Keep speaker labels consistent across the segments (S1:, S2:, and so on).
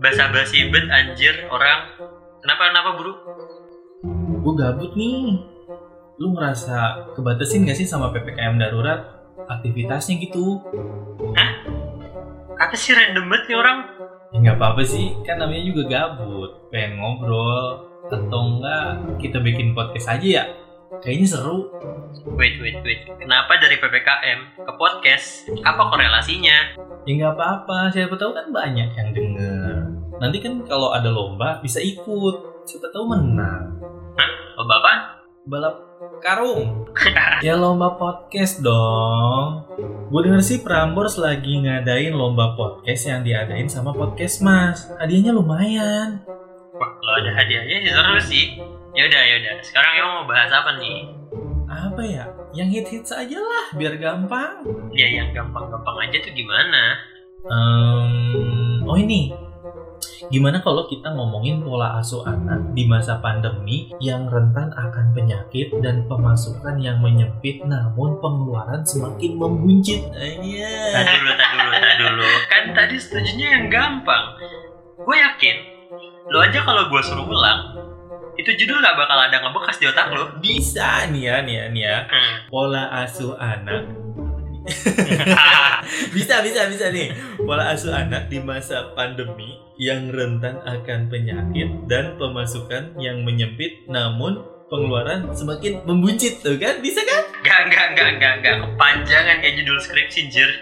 S1: basa-basi bet anjir orang. Kenapa kenapa bro?
S2: Gue gabut nih. Lu merasa kebatesin gak sih sama PPKM darurat? Aktivitasnya gitu.
S1: Apa sih random banget nih orang?
S2: Ya nggak apa-apa sih, kan namanya juga gabut. Pengen ngobrol. Atau enggak, kita bikin podcast aja ya. Kayaknya seru.
S1: Wait wait wait. Kenapa dari ppkm ke podcast? Apa korelasinya?
S2: Ya nggak apa-apa, siapa tahu kan banyak yang denger. Nanti kan kalau ada lomba bisa ikut, siapa tahu menang.
S1: Oh bapak?
S2: Balap karung. ya lomba podcast dong. Gue denger sih Prambors lagi ngadain lomba podcast yang diadain sama podcast mas. Hadiahnya lumayan.
S1: Wah kalau ada hadiahnya sih seru sih. Ya Yaudah yaudah. Sekarang emang mau bahas apa nih?
S2: Apa ya? Yang hits-hits aja lah, biar gampang.
S1: Ya yang gampang-gampang aja tuh gimana?
S2: Ehm, oh ini, Gimana kalau kita ngomongin pola asuh anak di masa pandemi yang rentan akan penyakit dan pemasukan yang menyempit namun pengeluaran semakin membuncit?
S1: Tadi
S2: Iya.
S1: dulu, tadi dulu, tadi dulu. Kan tadi setujunya yang gampang. Gue yakin, lo aja kalau gue suruh ulang, itu judul gak bakal ada ngebekas di otak lo.
S2: Bisa nih ya, nih ya, nih ya.
S1: Hmm.
S2: Pola asuh anak. Bisa, bisa, bisa nih. Pola asuh anak di masa pandemi yang rentan akan penyakit dan pemasukan yang menyempit namun pengeluaran semakin membuncit tuh kan? Bisa kan?
S1: gak, gak, gak, gak, gak. Kepanjangan kayak judul skripsi, jir.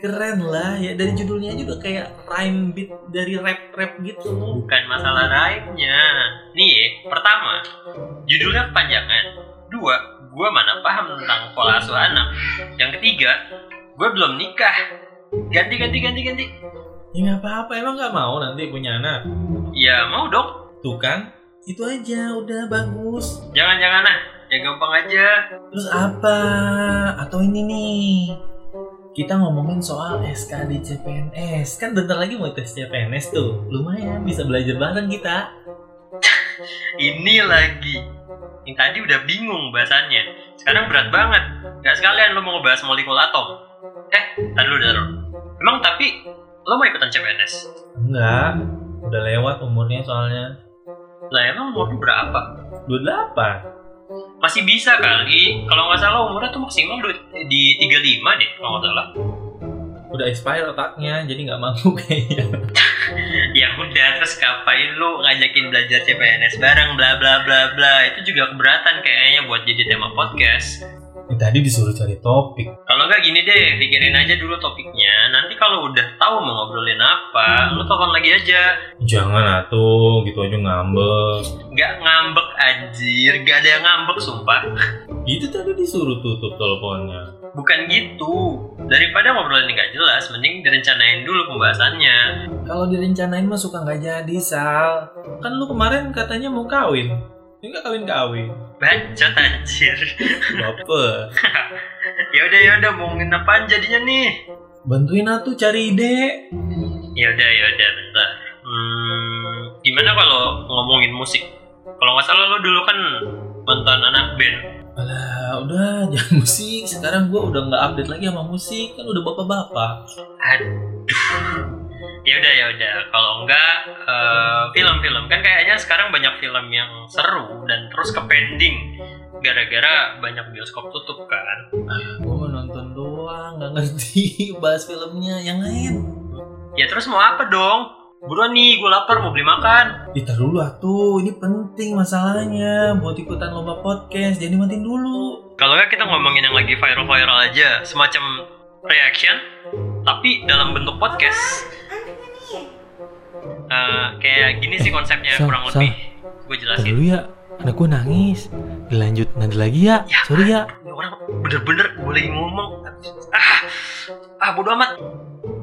S2: keren lah ya dari judulnya aja udah kayak rhyme beat dari rap rap gitu
S1: Bukan masalah rhyme-nya. Nih ya, pertama, judulnya kepanjangan. Dua, gue mana paham tentang pola asuh anak. Yang ketiga, gue belum nikah. Ganti, ganti, ganti, ganti.
S2: ya nggak apa-apa emang nggak mau nanti punya anak
S1: Ya mau dong.
S2: tuh kan itu aja udah bagus
S1: Jangan-jangan ah, yang gampang aja.
S2: terus apa atau ini nih kita ngomongin soal SKD CPNS kan bentar lagi mau tes CPNS tuh lumayan bisa belajar bareng kita
S1: Ini lagi. Yang tadi udah bingung bahasannya. Sekarang berat banget. Gak sekalian lo mau ngebahas molekul atom. Eh, tar dulu, tar dulu. Emang tapi lo mau ikutan CPNS?
S2: enggak udah lewat umurnya soalnya
S1: Lah emang umur lo berapa?
S2: 28
S1: Masih bisa kali. Kalau nggak salah umurnya tuh maksimal du- di 35 deh, kalau nggak salah.
S2: udah expire otaknya jadi nggak mampu kayaknya
S1: Ya udah, terus ngapain lo ngajakin belajar CPNS bareng, bla bla bla bla. Itu juga keberatan kayaknya buat jadi tema podcast.
S2: Ya, tadi disuruh cari topik
S1: Kalau nggak gini deh, pikirin aja dulu topiknya. Nanti kalau udah tahu mau ngobrolin apa, lu telepon lagi aja.
S2: Jangan atuh, gitu aja ngambek.
S1: Nggak ngambek anjir, nggak ada yang ngambek sumpah.
S2: Itu tadi disuruh tutup teleponnya.
S1: Bukan gitu. Daripada ngobrolin nggak jelas, mending direncanain dulu pembahasannya.
S2: Kalau direncanain mah suka nggak jadi, Sal. Kan lu kemarin katanya mau kawin. Ini nggak kawin-kawin.
S1: Bacot anjir.
S2: Baper.
S1: Ya udah ya udah mau apaan jadinya nih?
S2: Bantuin atuh cari ide.
S1: Ya udah ya udah bentar. Hmm, gimana kalau ngomongin musik? Kalau nggak salah lu dulu kan mantan anak band.
S2: Alah, udah jangan musik. Sekarang gua udah nggak update lagi sama musik. Kan udah bapak-bapak.
S1: ya udah ya udah kalau enggak eh, film-film kan kayaknya sekarang banyak film yang seru dan terus ke pending gara-gara banyak bioskop tutup kan
S2: Gua mau nonton doang, nggak ngerti bahas filmnya yang lain.
S1: ya terus mau apa dong buruan nih gue lapar mau beli makan
S2: Ditaruh dulu atuh, ini penting masalahnya buat ikutan lomba podcast. Jadi matiin dulu.
S1: kalau enggak kita ngomongin yang lagi viral-viral aja semacam reaction tapi dalam bentuk podcast Eh, kayak gini sih konsepnya
S2: Sal,
S1: kurang
S2: Sal.
S1: lebih gue jelasin
S2: Dulu ya, anak gue nangis. Dilanjut nanti lagi ya.
S1: Ya.
S2: Sorry ya.
S1: Ini orang bener-bener boleh ngomong ah ah bodo amat